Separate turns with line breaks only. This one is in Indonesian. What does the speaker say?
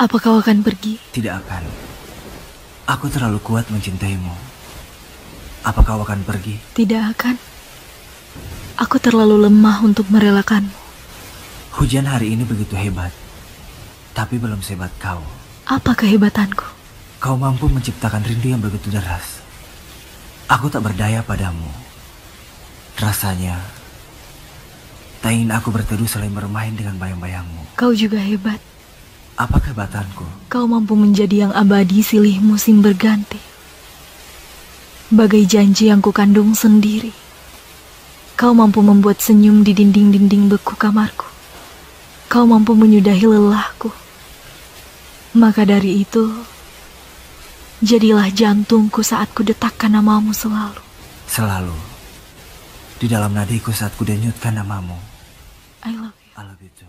Apa kau akan pergi?
Tidak akan. Aku terlalu kuat mencintaimu. Apa kau akan pergi?
Tidak akan. Aku terlalu lemah untuk merelakanmu.
Hujan hari ini begitu hebat. Tapi belum sehebat kau.
Apa kehebatanku?
Kau mampu menciptakan rindu yang begitu deras. Aku tak berdaya padamu. Rasanya, tak ingin aku berteduh selain bermain dengan bayang-bayangmu.
Kau juga hebat.
Apa kehebatanku?
Kau mampu menjadi yang abadi silih musim berganti. Bagai janji yang kukandung sendiri. Kau mampu membuat senyum di dinding-dinding beku kamarku. Kau mampu menyudahi lelahku. Maka dari itu, jadilah jantungku saat kudetakkan namamu selalu.
Selalu. Di dalam nadiku saat ku denyutkan namamu.
I love you.
I love you too.